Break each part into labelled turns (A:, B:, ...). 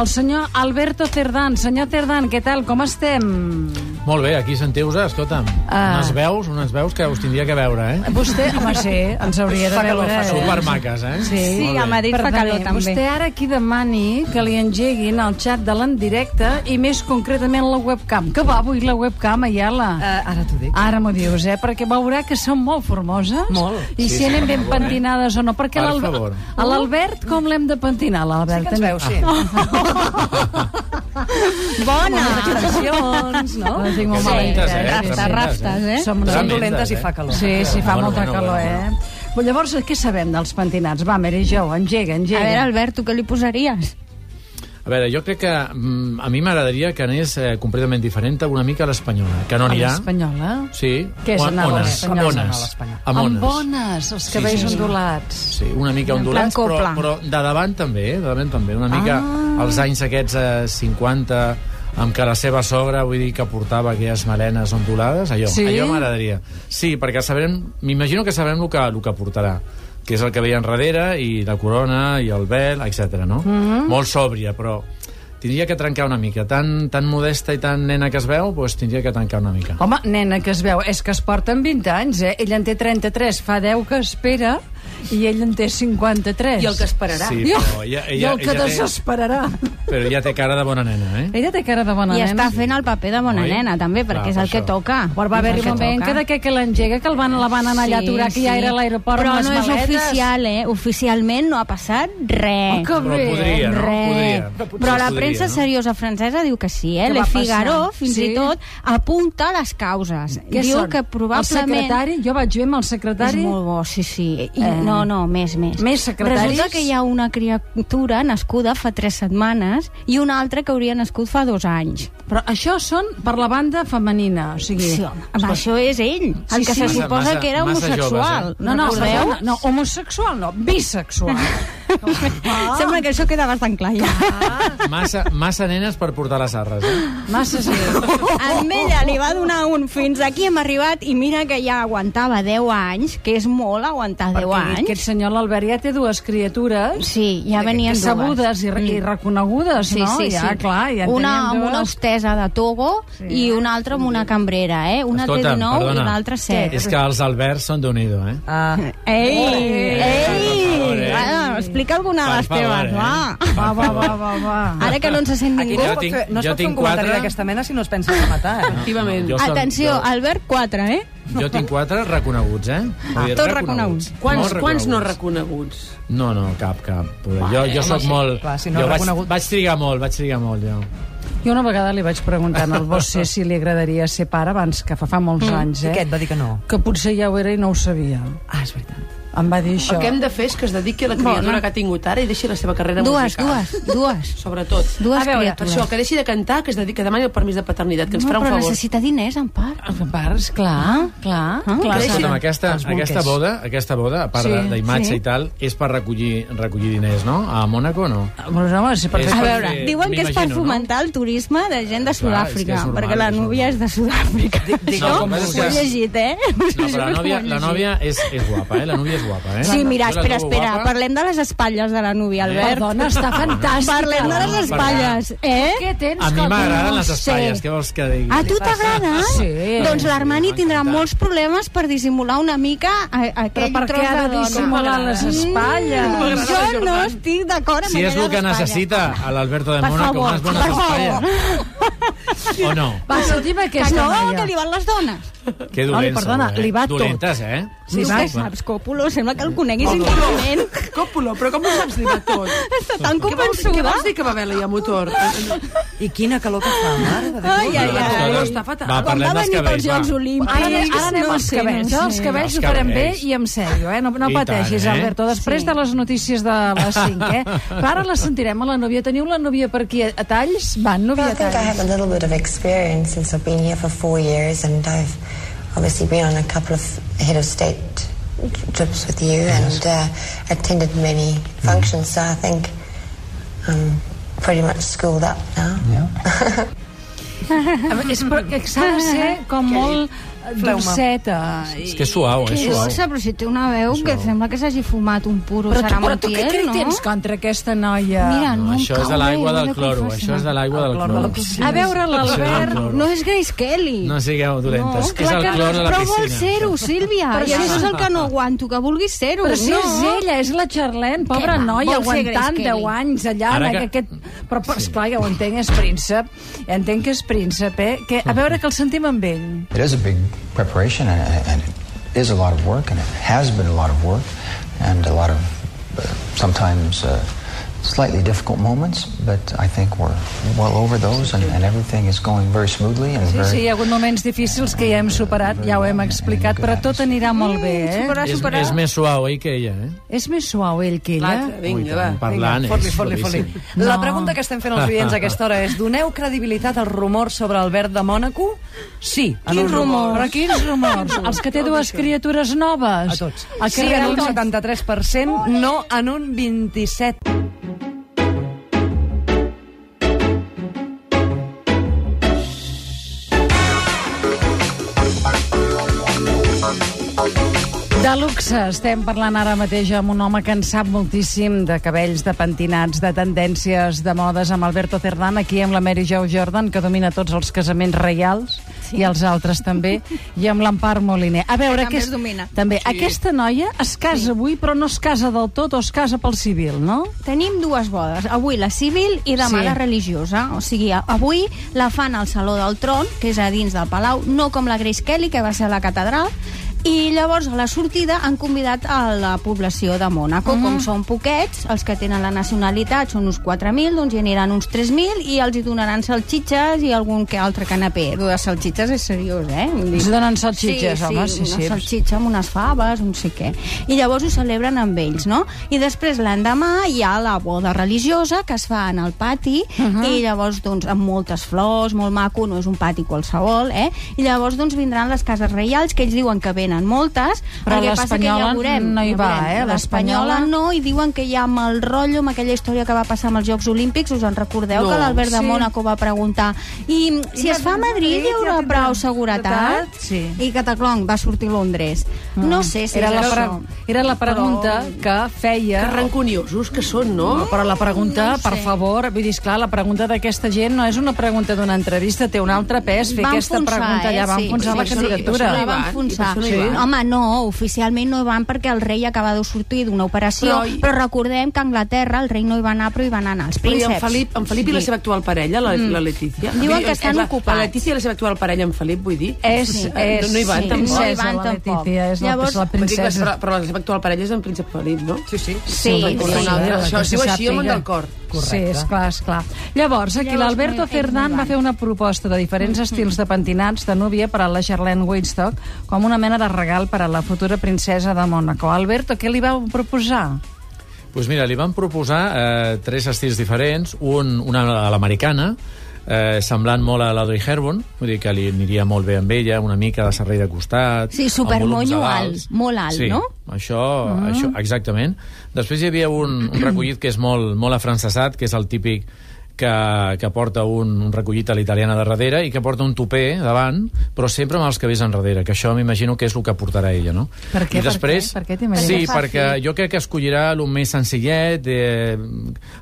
A: el senyor Alberto Cerdán. Senyor Cerdán, què tal? Com estem?
B: Molt bé, aquí sentiu-vos, escolta'm.
A: Ah.
B: Unes veus, unes veus que us tindria que veure, eh?
A: Vostè, home, sí, ens hauria de
C: Fa
A: veure...
C: calor, fa calor.
A: eh?
B: Supermaques, eh?
A: Sí.
C: Sí,
B: Molt bé.
C: a Madrid fa
A: Perdoni,
C: calor també.
A: Vostè ara aquí demani que li engeguin el xat de l'endirecte i més concretament la webcam. Que va avui la webcam, Ayala?
C: Eh, ara t'ho dic.
A: Ara m'ho dius, eh? Perquè veurà que són molt formoses.
C: Molt.
A: I
B: Sí,
A: si
B: sí,
A: anem
B: per
A: ben
B: favor, eh?
A: pentinades o no. Perquè
B: Per
A: l'Albe-
B: favor.
A: a l'Albert com l'hem de pentinar, l'Albert?
C: ens veu, sí. Bona!
A: Sensacions, no?
C: Ah,
A: No tinc molt
B: Sí,
A: mala
B: Tremendes,
A: idea, sí, sí.
B: eh?
C: Raftes, raftes, eh?
A: Som unes
C: Són
B: Tremendes,
C: dolentes i
B: eh?
C: fa calor.
A: Sí, sí, fa
B: Bueno,
A: molta
B: bueno,
A: calor,
B: bueno.
A: eh? Però llavors, què sabem dels pentinats? Va, Mary Jo, engega,
D: A
A: engega.
D: veure, Albert, tu què li posaries?
B: A veure, jo crec que mm, a mi m'agradaria que anés eh, completament diferent una mica a l'espanyola, que no
A: Amb
B: anirà.
A: l'espanyola?
B: Sí.
A: Què és
B: O-
A: anar a
B: ones, amb
A: l'espanyola?
B: ones. Amb
A: eh? Amb
B: ones.
A: bones, els
B: Sí,
A: cabells
B: sí, sí.
A: ondulats.
B: Sí, una mica ondulats,
D: plan
B: però,
D: copla.
B: però de davant també, eh? de davant també. Una mica
A: Ah.
B: als anys aquests eh, 50, amb que la seva sogra, vull dir, que portava aquelles melenes ondulades, allò,
A: Sí?
B: allò m'agradaria. Sí, perquè sabrem, m'imagino que sabrem el que, el que portarà que és el que veia enrere, i la corona, i el vel, etc. no?
A: Mm-hmm.
B: Molt sòbria, però tindria que trencar una mica. Tan, tan modesta i tan nena que es veu, doncs tindria que trencar una mica.
A: Home, nena, que es veu, és que es porten 20 anys, eh? Ell en té 33, fa 10 que espera, i ell en té 53.
C: I el que esperarà.
B: Sí,
A: I,
B: però ella,
A: I
B: ella,
A: el que
B: ella, té,
A: desesperarà.
B: però ja té cara de bona nena, eh?
A: Ella té cara de bona
D: I
A: nena.
D: està fent el paper de bona
B: Oi?
D: nena, també,
B: Clar,
D: perquè és
B: Ah, per
D: el que
B: això.
D: toca.
A: Però va
D: És el
A: haver-hi un
D: que
A: moment
D: toca.
A: que de que, que l'engega, que el van, la van anar allà a aturar, que ja era a l'aeroport
D: Però
A: amb les
D: no és
A: maletes.
D: oficial, eh? Oficialment no ha passat
A: Oh,
D: res.
A: que
B: Però
A: bé.
B: podria, no?
D: Res.
B: Podria.
D: Però
B: Podria,
D: la premsa
B: no?
D: seriosa francesa diu que sí, eh?
A: Que
D: Le
A: va passar.
D: Figaro, fins
A: Sí.
D: i tot, apunta les causes.
A: Què
D: diu
A: són?
D: que
A: El
D: probablement...
A: secretari? Jo vaig veure amb el
D: És
A: secretari.
D: molt bo, sí, sí. I,
A: Eh.
D: No, no, més, més.
A: Més secretaris?
D: Resulta que hi ha una criatura nascuda fa tres setmanes i una altra que hauria nascut fa dos anys.
A: Però això són per la banda femenina, o sigui...
D: Sí, home, home, això és ell,
A: Sí,
D: el
A: sí.
D: que se
A: Massa-
D: suposa
B: massa-
D: que era
B: massa joves,
D: homosexual.
B: eh?
A: No, no,
D: Recordeu?
A: perdona, no, homosexual no, bisexual.
D: Sembla que això queda bastant clar ja.
B: Massa, massa nenes per portar les arres, eh?
A: Massa sí.
D: En ella li va donar un fins aquí hem arribat i mira que ja aguantava 10 anys, que és molt aguantar 10
A: Perquè
D: anys.
A: Aquest senyor l'Albert ja té dues criatures
D: Sí, ja venien
A: que
D: dues. Mm.
A: sabudes i, re- i reconegudes,
D: Sí,
A: no?
D: sí,
A: ja,
D: sí.
A: clar, ja en
D: una
A: tenien
D: amb una
A: dues.
D: hostesa de Togo sí. i una altra amb una cambrera, eh? Una té 19 i l'altra 7.
B: és que els Alberts són d'un nido, eh?
C: Ah,
D: Ei!
B: Per favor,
D: Ei!
B: eh?
D: Va, explica alguna de
B: Per
D: les
B: favor,
D: teves,
B: eh?
D: va.
A: Va, va, va, va, va.
D: Ara que no ens sent
C: aquí
D: ningú...
B: Jo
C: no es pot
B: tinc-
C: fer, no es
B: jo
C: pot fer un
B: tinc
C: comentari
B: quatre.
C: d'aquesta mena si no es pensa de matar, eh?
B: Activament. Jo, som-
D: Atenció, Albert 4, eh?
B: jo, jo tinc quatre reconeguts, eh? Ah,
D: tots reconeguts.
E: Quants,
B: Molt
E: quants no reconeguts?
B: No, no, cap, cap. Poder. Jo,
D: eh,
B: jo sóc molt...
C: clar, si no
B: jo vaig,
C: reconegut.
B: vaig trigar molt, vaig trigar molt, jo.
A: Jo una vegada li vaig preguntar al Bossé si li agradaria ser pare abans que fa, fa molts anys,
C: I
A: eh?
C: què et va dir que no?
A: Que potser ja ho era i no ho sabia.
C: Ah, és veritat.
A: Em va dir això.
E: El que hem de fer és que es dediqui a la criatura que ha tingut ara i deixi la seva carrera
D: Dues,
E: musical.
D: dues, dues.
E: Sobretot.
D: Dues
E: a veure, per
D: criatures.
E: això, que deixi de cantar, que es dediqui a demani el permís de paternitat, que ens farà
D: No,
E: un
D: però
E: favor.
D: necessita diners, en part.
A: En Ah, parts, clar, clar. Ah, clar
B: Escolta'm,
A: sí.
B: aquesta,
C: els bolquers.
B: aquesta boda, aquesta boda, a part
A: Sí,
B: sí, d'imatge
A: sí.
B: i tal, és per recollir, recollir diners, no? A Mònaco, no?
A: Bueno, Doncs, home, si per
B: És
A: fer-
D: A
B: per
D: veure,
B: fer-
D: diuen que és per
B: Eh, m'imagino, no?
D: fomentar el turisme de gent de
B: és que és
D: Sud-àfrica,
B: normal,
D: perquè la
B: és
D: núvia
B: normal.
D: és de Sud-àfrica.
C: dic
B: no,
D: Això
B: com
D: ho he
B: vulguis.
D: llegit, eh?
B: No, però la nòvia, la nòvia és, és guapa, eh? La núvia és guapa, eh?
D: Sí, mira,
B: Jo la
D: espera,
B: trobo
D: espera,
B: guapa. Eh?
D: parlem de les espatlles de la núvia, Albert.
A: Perdona, està fantàstica.
D: Parlem de les espatlles, eh?
A: Què tens?
B: A mi
A: que-
B: m'agraden les
D: sé.
B: espatlles, què vols que digui?
D: A tu t'agrada?
A: Sí.
D: Doncs l'Armani
B: Sí,
D: tindrà
B: m'encanta.
D: molts problemes per dissimular una mica a-
A: Però
D: aquell
A: per
D: tros
A: què ha
D: de
A: de
D: dona.
A: dissimular les espatlles?
D: Mm, Jo no estic d'acord amb
B: Si és
D: aquelles
B: el que
D: espatlles.
B: necessita a l'Alberto de
D: Per
B: Mónaco,
D: favor,
B: unes bones
D: per favor.
B: espatlles. O no?
A: Va, sortim
D: Que
A: aquesta
D: no, que
A: noia.
D: li van les dones.
B: Que
A: No, li
B: dolents,
A: perdona,
B: sou, eh?
A: li va tot.
B: Dolentes, eh?
D: Sí,
A: Li
D: tu
A: va-
D: què saps, Còpolo? Sembla que el coneguis íntimament.
E: Còpolo, però com ho saps dir tot?
D: Està tan
E: Què vols, què
D: convençuda.
E: vols dir que va haver la motor?
C: I quina calor que fa, mare de Déu.
D: Ai, ai, ai.
B: Escolta,
E: Està fatal.
B: Va,
D: Quan
B: parlem
D: va
B: dels
D: venir pels
B: cabells,
D: Jocs
B: va.
D: Olímpics...
A: Ara, anem- ara anem
D: no
A: als
D: sé,
A: cabells.
D: no
A: Jo els
D: sé.
A: cabells
B: Els
A: ho farem bé
B: cabells.
A: i en sèrio, eh? No, no
B: I tant,
A: pateixis,
B: eh?
A: Alberto. Després
D: Sí.
A: de les notícies de les 5, eh? Però ara les sentirem a la novia. Teniu la novia per aquí a a talls? Va, novia
F: Well,
A: a
F: I think I
A: talls.
F: have a little bit of experience since I've been here for four years, and I've obviously been on a couple of head of state trips with you and uh, attended many functions. So I think I'm pretty much schooled up now.
A: A veure, És perquè s'ha de ser com molt dolceta.
B: És que és suau, és
D: Que
B: suau.
D: dolça, però si té una veu que sembla que s'àghi fumat un puro
A: Però tu, però tu
D: Sarampiel,
A: què crit
D: no?
A: tens contra aquesta noia?
D: Mira, no,
B: No,
D: em
B: això
D: cau
B: és de l'aigua
D: bé, ho he
B: del
D: de
B: cloro,
D: confessar.
B: això és de l'aigua del
C: El clor de la
B: cloro.
C: piscina.
A: A veure, l'Albert...
B: Això és del
D: No és Grace Kelly.
B: No sigueu dolentes,
D: No,
B: que és
A: clar
B: el
A: que
B: clor
A: no,
B: de la
D: Però vol
B: piscina.
D: ser-ho, Sílvia.
A: Però
D: I
A: sí.
D: això és el que no aguanto, que vulguis ser-ho.
A: Però si
D: no.
A: és ella, és la Charlene, pobra
D: Què va,
A: noia,
D: vol ser
A: aguantant
D: Grace
A: 10
D: Kelly.
A: anys allà.
B: Ara
A: en
B: que-
A: Aquest... Però, però esclar, ja ho entenc, és príncep. Ja entenc que és príncep, eh? Que, a veure que el sentim amb ell.
G: It is a big preparation, and, and it is a lot of work, and it has been a lot of work, and a lot of uh, sometimes uh, slightly difficult moments. But I think we're well over those, and, and everything is going very smoothly and
A: Sí,
G: very.
A: sí, hi ha hagut moments difícils que ja hem superat, ja ho hem explicat, però tot anirà molt bé, eh?
B: És, és més suau ell que ella, eh?
A: És més suau ell que ella?
E: L'altre, Eh, vinga, va.
B: Parlant
C: Vinga,
B: és
C: fot-li, fot-li,
B: bravíssim.
C: fot-li. La pregunta que estem fent als oients a aquesta hora és doneu credibilitat al rumor sobre Albert de Mònaco? Sí. en
A: Quins
C: un
A: rumors? Però quins rumors? Els que té dues criatures noves.
C: A tots.
A: A
C: Sí, en un
A: sí,
C: 73%, no en un 27%.
A: de luxe estem parlant ara mateix amb un home que en sap moltíssim de cabells, de pentinats, de tendències, de modes, amb Alberto Cerdán, aquí amb la Mary Jo Jordan, que domina tots els casaments reials sí. i els altres també, i amb l'Empar Moliner. A veure,
D: Que també
A: aquest,
D: els domina.
A: També. Aquesta noia es casa sí. avui, però no es casa del tot, o es casa pel civil, no?
D: Tenim dues bodes, avui la civil i demà
A: Sí.
D: sí. la religiosa. O sigui, a- avui la fan al Saló del Tron, que és a dins del Palau, no com la Grace Kelly, que va ser a la catedral, i llavors a la sortida han convidat a la població de Mònaco, mm. com són poquets, els que tenen la nacionalitat són uns 4.000, doncs hi aniran uns 3.000 i els hi donaran salxitxes i algun que altre canapé. Lo de salxitxes és seriós, eh? Vull dir-
A: Ens donen salxitxes,
D: sí,
A: home,
D: sí,
A: sí, sí.
D: Una salxitxa amb unes faves, un sé què. I llavors ho celebren amb ells, no? I després l'endemà hi ha la boda religiosa que es fa en el pati uh
A: Uh-huh.
D: -huh. i llavors, doncs, amb moltes flors, molt maco, no és un pati qualsevol, eh? I llavors, doncs, vindran les cases reials, que ells diuen que venen moltes,
A: Però
D: el que passa que ja
A: l'espanyola
D: veurem.
A: no hi
D: ja
A: va,
D: veurem.
A: eh?
D: L'espanyola
A: L'espanyola-
D: no, i diuen que ja amb el rotllo, amb aquella història que va passar amb els Jocs Olímpics, us en recordeu
E: No,
D: que l'Albert de
A: sí.
D: Mònaco va preguntar i si es fa a Madrid hi haurà prou seguretat?
A: Sí.
D: i Cataclong va sortir a Londres. Mm. No sé si
A: Era
D: és
A: la,
D: això.
A: pre... Era la pregunta que feia...
E: Que ranconiosos que són, no?
A: Però la pregunta,
D: No
A: no
D: ho
A: per
D: sé.
A: favor, vull dir, esclar, la pregunta d'aquesta gent no és una pregunta d'una entrevista, té un altre pes fer
D: Va
A: aquesta
D: enfonsar,
A: pregunta
D: eh?
A: allà, va
D: Sí,
A: enfonsar
E: sí,
A: la
E: sí,
A: candidatura.
E: sí,
D: La
E: no hi
D: va
E: van,
D: enfonsar.
E: i per això
D: Sí.
E: no hi van.
D: Home, no, oficialment no hi van perquè el rei acaba de sortir d'una operació,
E: Però i-
D: però, però recordem que a Anglaterra el rei no hi va anar, però hi van anar els
E: Però i en
D: prínceps. Mm.
E: Felip, en Felip i la seva actual parella, la, la Letícia?
D: Diuen
E: Vull dir,
D: que estan
E: la,
D: ocupats. Eh,
E: La Letícia i la seva actual parella, en Felip, vull dir.
A: És,
D: Sí.
A: és,
E: No, no hi van,
A: sí,
E: tampoc.
A: princesa,
D: No hi van,
A: la
D: tampoc.
A: Letizia, és
D: Llavors-
A: Llavors, la
E: Vull dir que la-
A: princesa.
E: Però, però la seva actual parella és en Príncep Felip, no?
C: Sí, sí.
D: Sí, sí.
E: Recordem
D: sí.
E: una altra.
A: la
E: Això es
A: que
E: diu
A: se
E: així, home,
A: sàpiga.
E: del cor.
A: Sí,
C: Correcte.
A: esclar, esclar. Llavors, aquí
D: Llavors,
A: l'Alberto
D: ells no hi
A: Cerdán va
D: van.
A: fer una proposta de diferents estils de pentinats de núvia per a la Charlene Woodstock com una mena de regal per a la futura princesa de Mònaco. Alberto, què li vau proposar?
B: Pues mira, li van proposar eh, tres estils diferents, un, una a l'americana, eh, semblant molt a la Audrey Hepburn, vull dir que li aniria molt bé amb ella, una mica de servei de costat...
D: Sí,
B: amb
D: supermonyo
B: volums
D: alt,
B: alts.
D: molt alt,
B: sí,
D: no?
B: Això, mm.
A: Ah.
B: això, exactament. Després hi havia un, un recollit que és molt, molt afrancesat, que és el típic que, que porta un, un recollit a l'italiana de darrere i que porta un tupé davant, però sempre amb els cabells enrere, que això m'imagino que és el que portarà ella, no?
A: Per què,
B: I
A: per
B: després,
A: què? Per què t'imagines?
B: Sí, perquè jo crec que escollirà el més senzillet, eh,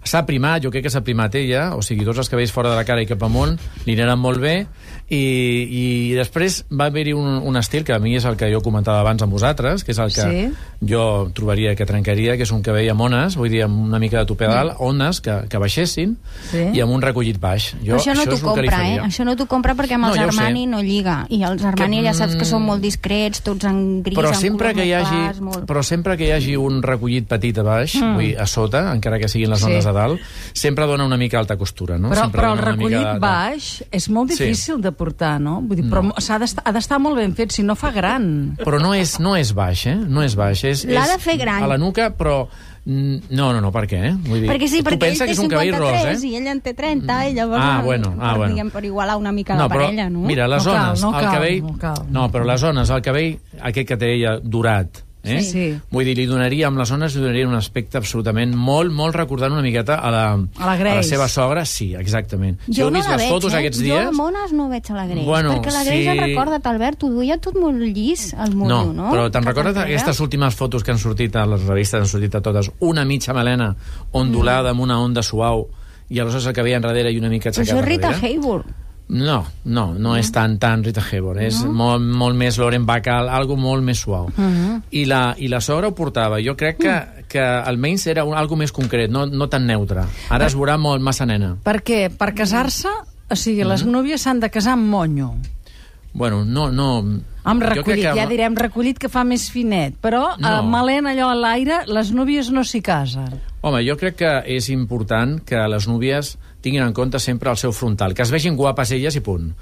B: s'ha primat, jo crec que s'ha primat ella, o sigui, tots els cabells fora de la cara i cap amunt li aniran molt bé, i, i després va haver-hi un, un estil que a mi és el que jo comentava abans amb vosaltres, que és el que
A: Sí.
B: jo trobaria que trencaria, que és un cabell amb ones, vull dir, amb una mica de topè dalt,
D: Mm.
B: ones que, que baixessin,
A: Sí.
B: i amb un recollit baix. Jo,
D: Però això no
B: és el
D: t'ho
B: que li
D: compra, eh?
B: faria.
D: Això no t'ho compra perquè amb
B: No,
D: els
B: ja ho sé.
D: Armani no lliga. I els Armani
B: Que- Mm.
D: ja saps que són molt discrets, tots en gris,
B: però
D: en
B: sempre
D: colors
B: que hi
D: molt
B: hagi,
D: clars, molt...
B: però sempre que hi hagi un recollit petit a baix, mm. vull dir, a sota, encara que siguin les
A: Sí.
B: ondes de dalt, sempre dona una mica alta costura, no?
A: Però,
B: sempre
A: però el
B: dona una mica
A: recollit
B: de-
A: baix és molt
B: Sí.
A: difícil de portar, no? Vull dir, però s'ha d'estar- ha d'estar molt ben fet, si no fa gran.
B: Però no és, no és baix, eh? No és baix. És,
D: L'ha
B: és
D: de fer gran.
B: A la nuca, però... mm, No, no, no, per què? Eh? Vull dir,
D: Perquè sí,
B: tu
D: perquè ell
B: pensa
D: té
B: que és un cabell
D: 53
B: ros, eh?
D: i ella en té 30, i llavors
B: Ah,
D: eh,
B: bueno, ah,
D: per,
B: bueno.
D: diguem, per igualar una mica
B: no,
D: la parella, no?
B: Mira, les
A: No cal,
B: zones,
A: no
B: el
A: cal,
B: cabell...
A: no cal.
B: no, però les zones, el cabell, aquest que té ella, durat, Eh?
A: Sí.
B: Vull dir, li donaria, amb les ones, li donaria un aspecte absolutament molt, molt recordant una miqueta a la,
A: A la Grace.
B: a la seva sogra, sí, exactament. si heu vist les
A: eh?
B: fotos aquests
D: eh? Jo
B: dies...
D: a mones no veig a la Grace,
B: Bueno,
D: perquè la Grace
B: sí.
D: em recorda, Albert, ho duia tot molt llis, el
B: No,
D: morro, no?
B: però te'n
D: Cap
B: recordes
D: enrere.
B: aquestes últimes fotos que han sortit a les revistes, han sortit a totes, una mitja melena ondulada
A: Mm.
B: amb una onda suau i aleshores el cabell enrere i una mica
D: Però
B: aixecat
D: això és Rita
B: enrere?
D: Hayworth.
B: No, no, no és tan, tan Rita Hayworth. És molt, molt més Lauren Bacall, algo molt més suau.
A: Uh-huh.
B: I, la, I la sogra ho portava. Jo crec que,
A: Mm.
B: que almenys era un, algo més concret, no, no tan neutre. Ara es veurà molt massa nena.
A: Per què? Per casar-se? O sigui, les
B: Mm.
A: núvies s'han de casar amb monyo.
B: Bueno, no... no
A: Amb
B: jo crec
A: recollit,
B: que-
A: ja direm recollit que fa més finet. Però no.
B: No.
A: eh, malent allò a l'aire, les núvies no s'hi casen.
B: Home, jo crec que és important que les núvies tinguin en compte sempre el seu frontal, que es vegin guapes elles i punt.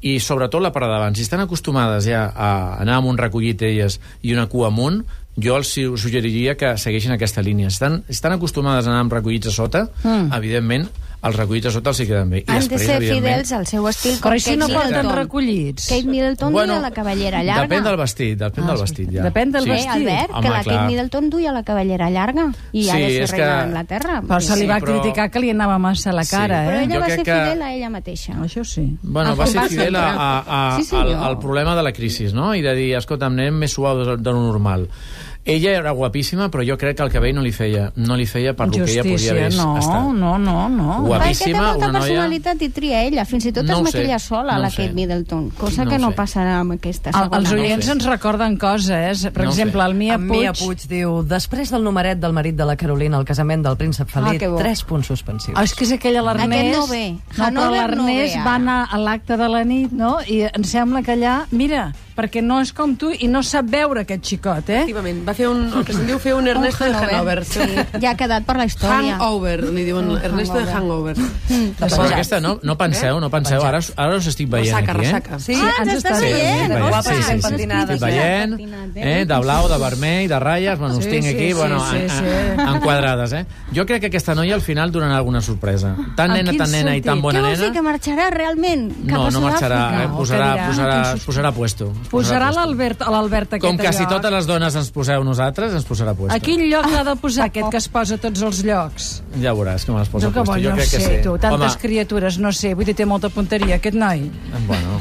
B: I sobretot la part de davant. Si estan acostumades ja a anar amb un recollit elles i una cua amunt, jo els su- suggeriria que segueixin aquesta línia. Si Estan, si estan acostumades a anar amb recollits a sota, mm. evidentment, els recollits a sota els hi queden bé. I
D: Han de ser
B: evidentment,
D: fidels al seu estil, com
A: Però i si
D: Kate
A: no porten
D: Middleton.
A: recollits?
D: Kate Middleton duia la cabellera llarga.
B: Depèn del vestit, depèn ah, del vestit, ja.
A: Depèn del
D: Sí. Bé,
A: vestit.
D: Albert, que
B: Home,
D: la Kate
B: clar.
D: Middleton duia la cabellera llarga i
B: Sí,
D: ha de ser
B: és
D: reina
B: que-
D: d'Anglaterra.
A: Però se li
B: Sí,
A: va
B: però-
A: criticar que li anava massa la
B: Sí.
A: cara,
D: Però
A: eh?
D: ella
B: Jo
D: va
B: crec
D: ser
B: que-
D: fidel a ella mateixa.
A: Això sí.
B: Bueno,
D: El
B: va ser
D: compàs
B: fidel a,
D: central.
B: a, a,
D: Sí, senyor.
B: al, al problema de la crisi, no? I de dir, escolta, anem més suau de, de lo normal. Ella era guapíssima, però jo crec que el cabell no li feia, no li feia per lo que ella podia haver
A: no,
B: estat.
A: no, no, no.
B: Guapa.
D: Perquè té
B: Guapíssima,
D: molta
B: una noia-
D: personalitat i tria ella. Fins i tot
B: No
D: es
B: ho sé,
D: maquilla sola,
B: no
D: la
B: ho sé.
D: Kate Middleton, cosa
B: No
D: que
B: ho
D: no
B: sé.
D: passarà amb aquesta
A: El,
D: segona.
A: els
B: no ho
A: oients
B: sé.
A: ens recorden coses. Per
B: No ho sé.
A: exemple, el Mia
C: en
A: Puig...
C: Mia Puig diu, després del numeret del marit de la Carolina al casament del príncep
D: Ah,
C: Felip,
D: que bo.
C: tres punts suspensius.
A: Ah, és que és aquella l'Ernest...
D: Aquest no ve.
A: No, però
D: Hanover no
A: l'Ernest
D: ve,
A: va
D: ara.
A: anar a l'acte de la nit, no? I em sembla que allà... Mira, perquè no és com tu i no sap veure aquest xicot, eh?
E: Efectivament, va fer un, el que se'n diu fer un Ernesto de Hanover.
D: Sí, ja ha quedat per la història.
E: Hangover, li diuen Ernesto de Hangover.
B: Però aquesta no, no penseu, no penseu. Ara, us- ara us estic veient
E: Ressaca,
B: aquí, eh?
E: ressaca.
C: Sí,
D: Ah, ens estàs
B: Sí,
D: veient,
B: estic
C: Guapa,
D: ostres,
B: sí, sí,
C: ben
B: sí,
C: pentinada.
B: estic veient, eh, de blau, de vermell, de ratlles, bueno,
A: Sí,
B: us tinc
A: sí,
B: aquí,
A: sí,
B: bueno,
A: sí,
B: en-
A: sí.
B: en- enquadrades, eh? Jo crec que aquesta noia al final donarà alguna sorpresa. Tan
A: En
B: nena,
A: quin
B: tan nena
A: sentit?
B: i tan bona
D: Què vols
B: nena...
D: dir, que marxarà realment cap
B: No,
D: a
B: no marxarà, eh,
D: Sud-àfrica?
A: que
B: posarà,
A: dirà?
B: posarà, posarà puesto.
A: Posarà
B: puesto.
A: l'Albert a l'Albert aquest
B: Com quasi tota
A: lloc.
B: totes les dones ens poseu nosaltres, ens posarà puesto.
A: A quin lloc l'ha de posar aquest que es posa a tots els llocs?
B: Ja veuràs com es posa
A: Jo que
B: puesto.
A: bon, no sé, tu, tantes
B: Home,
A: criatures, no sé, vull dir, té molta punteria, aquest noi.
B: bueno.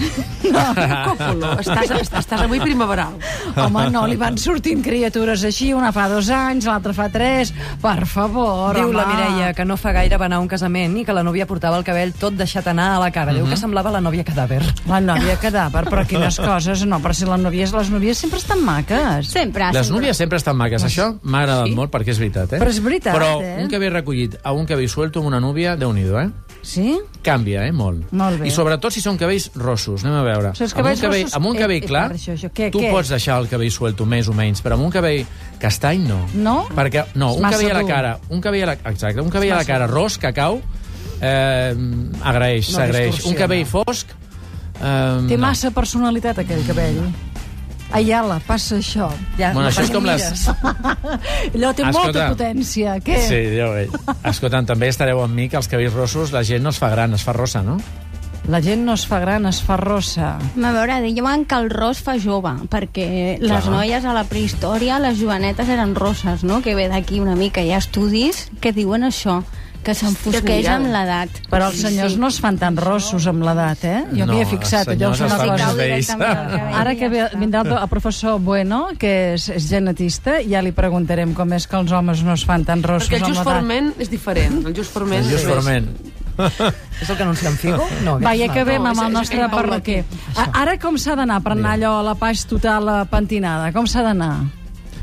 E: Còfolo, estàs, estàs avui primaveral.
A: Home, no, li van sortint criatures així, una fa dos anys, l'altra fa tres, per favor,
C: Diu
A: home.
C: la Mireia que no fa gaire va anar a un casament i que la novia portava el cabell tot deixat anar a la cara.
B: Mhm.
C: Diu que semblava la novia cadàver.
A: La nòvia cadàver, però quines coses, no, però si les nòvies, les nòvies sempre estan maques.
D: Sempre,
B: eh. Les
D: sempre.
B: núvies sempre estan maques, això m'ha agradat molt perquè és veritat, eh?
A: Però és veritat,
B: Però
A: eh?
B: un cabell recollit a un cabell suelto amb una núvia, déu nhi eh?
A: Sí?
B: Canvia, eh? Molt.
A: Molt bé.
B: I sobretot si són cabells rossos, anem a veure.
A: Si els
B: Amb un
A: cabells
B: cabell,
A: rossos-
B: amb un
A: Eh,
B: cabell
A: eh,
B: clar,
A: per això, això, què-
B: tu
A: què?
B: pots deixar el cabell suelto més o menys, però amb un cabell castany no.
A: No?
B: Perquè, no,
A: És
B: un
A: massa
B: cabell a la
A: dur.
B: cara, un cabell a la, exacte, un cabell a la cara ros, cacau, eh, agraeix,
C: No
B: s'agraeix. Un
C: distorsiona.
B: cabell fosc, eh,
A: Té
B: no.
A: massa personalitat, aquell cabell. Aiala, passa això. Ja,
B: Bueno, això és com les...
A: Allò té molta
B: Ah, Escolta.
A: potència. Què?
B: Sí, ja ho veig. Escolta'm, també estareu amb mi que els cabells rossos la gent no es fa gran, es fa rossa, no?
A: La gent no es fa gran, es fa rossa.
D: A veure, diuen que el ros fa jove, perquè les
B: Clar.
D: noies a la prehistòria, les jovenetes eren roses, no? Que ve d'aquí una mica. Hi ha estudis que diuen això, que s'enfosqueix
E: mirada.
D: amb l'edat.
A: Però els senyors no es fan tan rossos amb l'edat, eh? Jo m'hi he fixat, allò és
B: els
A: una
B: senyors es fan
A: cosa...
B: els vells.
A: Ara que ve, vindrà el, do- el professor Bueno, que és, és genetista, ja li preguntarem com és que els homes no es fan tan rossos
E: Perquè el
A: amb
E: just
A: l'edat.
E: forment és diferent. El just forment,
B: Els just
E: és-
B: forment.
C: És el que anuncien Figo? No,
A: Va, ja
C: aquest
A: acabem
E: No,
A: amb
E: és-
A: el
E: és
A: nostre
E: aquell Paul
A: perruquer. A- Ara com s'ha d'anar per anar allò a la paix total eh, pentinada? Com s'ha d'anar?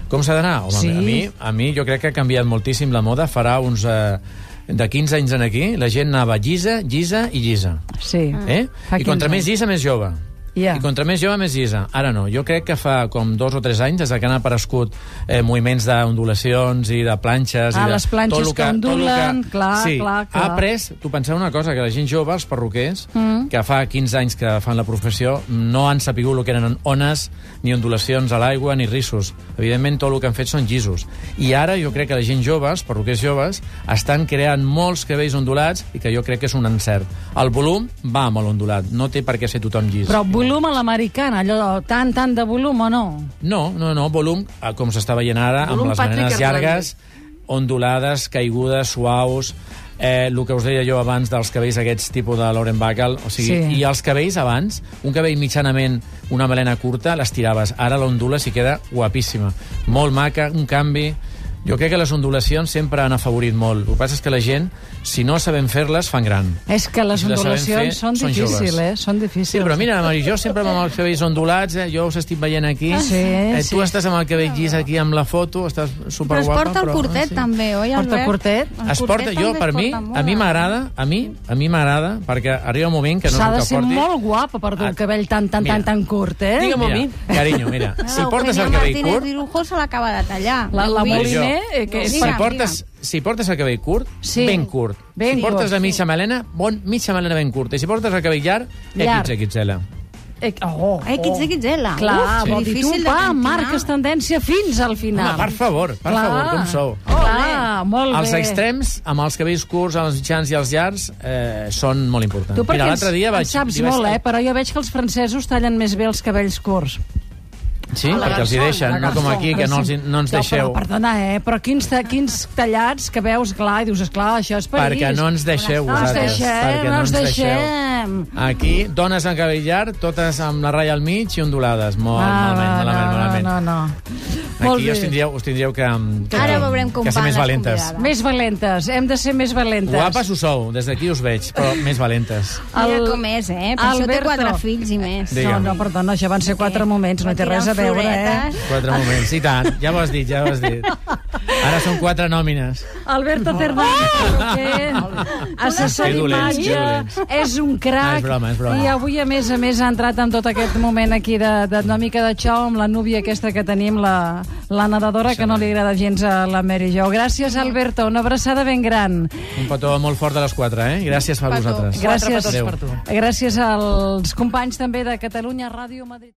B: Com s'ha d'anar? Home,
A: Sí.
B: a, mi, a mi jo crec que ha canviat moltíssim la moda. Farà uns... Eh, de 15 anys en aquí, la gent anava llisa, llisa i llisa.
A: Sí.
E: Ah.
B: Eh?
A: Ah, Fa
B: I
A: 15
B: contra més llisa, més jove.
A: Ja.
B: I contra més jove, més llisa. Ara no. Jo crec que fa com dos o tres anys, des de que han aparegut eh, moviments d'ondulacions i de planxes...
A: Ah,
B: i de
A: les planxes
B: tot lo
A: que
B: tot lo
A: ondulen, clar,
B: sí,
A: clar, clar.
B: Ha après... Tu penseu una cosa, que la gent jove, els perruquers, mm. que fa 15 anys que fan la professió, no han sapigut el que eren ones, ni ondulacions a l'aigua, ni rissos. Evidentment, tot el que han fet són llisos. I ara jo crec que la gent jove, els perruquers joves, estan creant molts cabells ondulats i que jo crec que és un encert. El volum va amb l'ondulat, no té per què ser tothom llis.
A: Però
B: I
A: volum a l'americana, allò tant, tant de volum o no?
B: No, no, no, volum, eh, com s'està veient ara,
E: Volum
B: amb les
E: Patrick
B: maneres
E: Hernandez.
B: llargues, ondulades, caigudes, suaus, eh, el que us deia jo abans dels cabells aquests tipus de Lauren Bacall, o sigui,
A: Sí.
B: sí. i els cabells abans, un cabell mitjanament, una melena curta, les tiraves, ara l'ondules i queda guapíssima, molt maca, un canvi... Jo crec que les ondulacions sempre han afavorit molt. El que passa és que la gent, si no sabem fer-les, fan gran.
A: És que les
B: Si la sabem
A: ondulacions
B: fer,
A: són
B: són joves.
A: difícils, eh? Són difícils.
B: Sí, però mira, Mari, jo sempre amb els cabells ondulats, eh, jo us estic veient aquí.
A: Ah, Sí,
B: eh, tu
A: sí.
B: estàs amb el cabell llis aquí amb la foto, estàs
D: Però es
B: superguapa. ah,
D: porta el curtet també, oi,
A: Porta
D: Albert?
A: curtet?
D: El
B: Es porta, jo,
D: també
B: per
D: es
B: mi,
D: porta molt,
B: a mi
D: eh?
B: m'agrada, a mi, a mi m'agrada, perquè arriba un moment que no és
A: S'ha
B: el
A: de
B: que
A: ser
B: porti.
A: molt guapa per dur el
B: Ah,
A: cabell tan, tan,
B: mira.
A: tan, tan curt, eh?
E: Digue'm- a
B: Mira,
E: mi.
B: carinyo, mira,
D: Ah,
B: si portes el
D: Eugenia
B: cabell
D: Martínez
B: curt...
D: Dirujo se l'acaba de tallar.
A: La- la
D: Ho dic.
A: Moliner, eh, que és
B: si,
D: Digue'm,
B: portes,
D: digue'm.
B: si portes el cabell curt,
A: Sí.
B: ben curt.
A: Ben
B: si
A: curt,
B: portes la mitja melena, bon, mitja melena ben curta. I si portes el cabell llarg,
A: Llarg.
B: XXL.
A: Eh, oh,
D: Eh, XXL.
A: Clar, vol dir, tu,
D: difícil
A: va,
D: d'endevinar.
A: marques tendència fins al final.
B: Home, per favor, per
A: Clar.
B: favor, com sou.
A: Clar, molt bé.
B: Els extrems, amb els cabells curts, els mitjans i els llargs, eh, són molt importants.
A: Tu perquè
B: Mira, l'altre dia
A: en
B: vaig...
A: saps
B: li vaig-
A: molt, eh? Però jo veig que els francesos tallen més bé els cabells curts.
B: Sí, perquè els hi deixen, no com aquí, que no, els, hi- no ens
A: No, Però,
B: deixeu.
A: perdona, eh? Però quins, ta quins tallats que veus, clar, i dius, esclar, això és París.
B: Perquè no ens deixeu
A: No ens
B: vosaltres.
A: deixem,
B: perquè
A: no ens
B: ens
A: deixem.
B: Aquí, dones amb cabell llarg, totes amb la ratlla al mig i ondulades. Molt
A: Ah,
B: malament, malament, malament.
A: no, no, no. Molt
B: Aquí
A: bé.
B: us tindríeu, us tindríeu que, mm, que,
D: Ara veurem com
B: que ser
D: van
B: més
D: les
B: valentes.
D: convidades.
A: Més valentes, hem de ser més valentes.
B: Guapes ho sou, des d'aquí us veig, però més valentes.
D: Mira
A: El-
D: com és, eh? Per això té
A: Alberto.
D: quatre fills i més.
B: Digue'm.
A: No, no, perdona, ja van ser quatre
D: doncs
A: moments, no té res a veure, eh?
B: Quatre moments, i tant, ja ho has dit, ja ho has dit. Ara són quatre nòmines.
A: Alberto Cervantes, oh! assessor
B: Que dolents,
A: d'imatge,
B: que
A: Ah, és un
B: No,
A: crac.
B: és broma, és broma.
A: I avui, a més a més, ha entrat en tot aquest moment aquí de, de una mica de xou amb la núvia aquesta que tenim, la, la nedadora, que no li agrada gens a la Mary Jo. Gràcies, Alberto, una abraçada ben gran.
B: Un petó molt fort a les quatre, eh? Gràcies per vosaltres.
A: Gràcies,
B: Adéu.
A: gràcies als companys també de Catalunya Ràdio Madrid.